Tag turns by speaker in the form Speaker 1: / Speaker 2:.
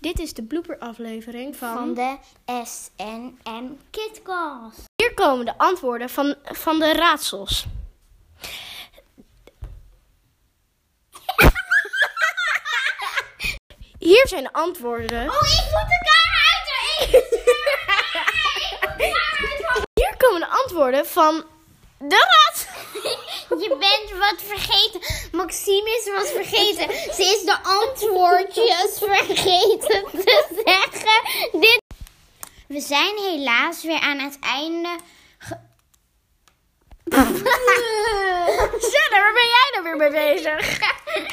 Speaker 1: Dit is de blooperaflevering van...
Speaker 2: van de SNM KidCast.
Speaker 1: Hier komen de antwoorden van, van de raadsels. Hier zijn de antwoorden.
Speaker 2: Oh, ik moet de kamer uit!
Speaker 1: Hier komen de antwoorden van de raadsels.
Speaker 2: Je bent wat vergeten. Maxime is wat vergeten. Ze is de antwoordjes vergeten te zeggen. Dit... We zijn helaas weer aan het einde.
Speaker 1: Jenna, waar ben jij nou weer mee bezig?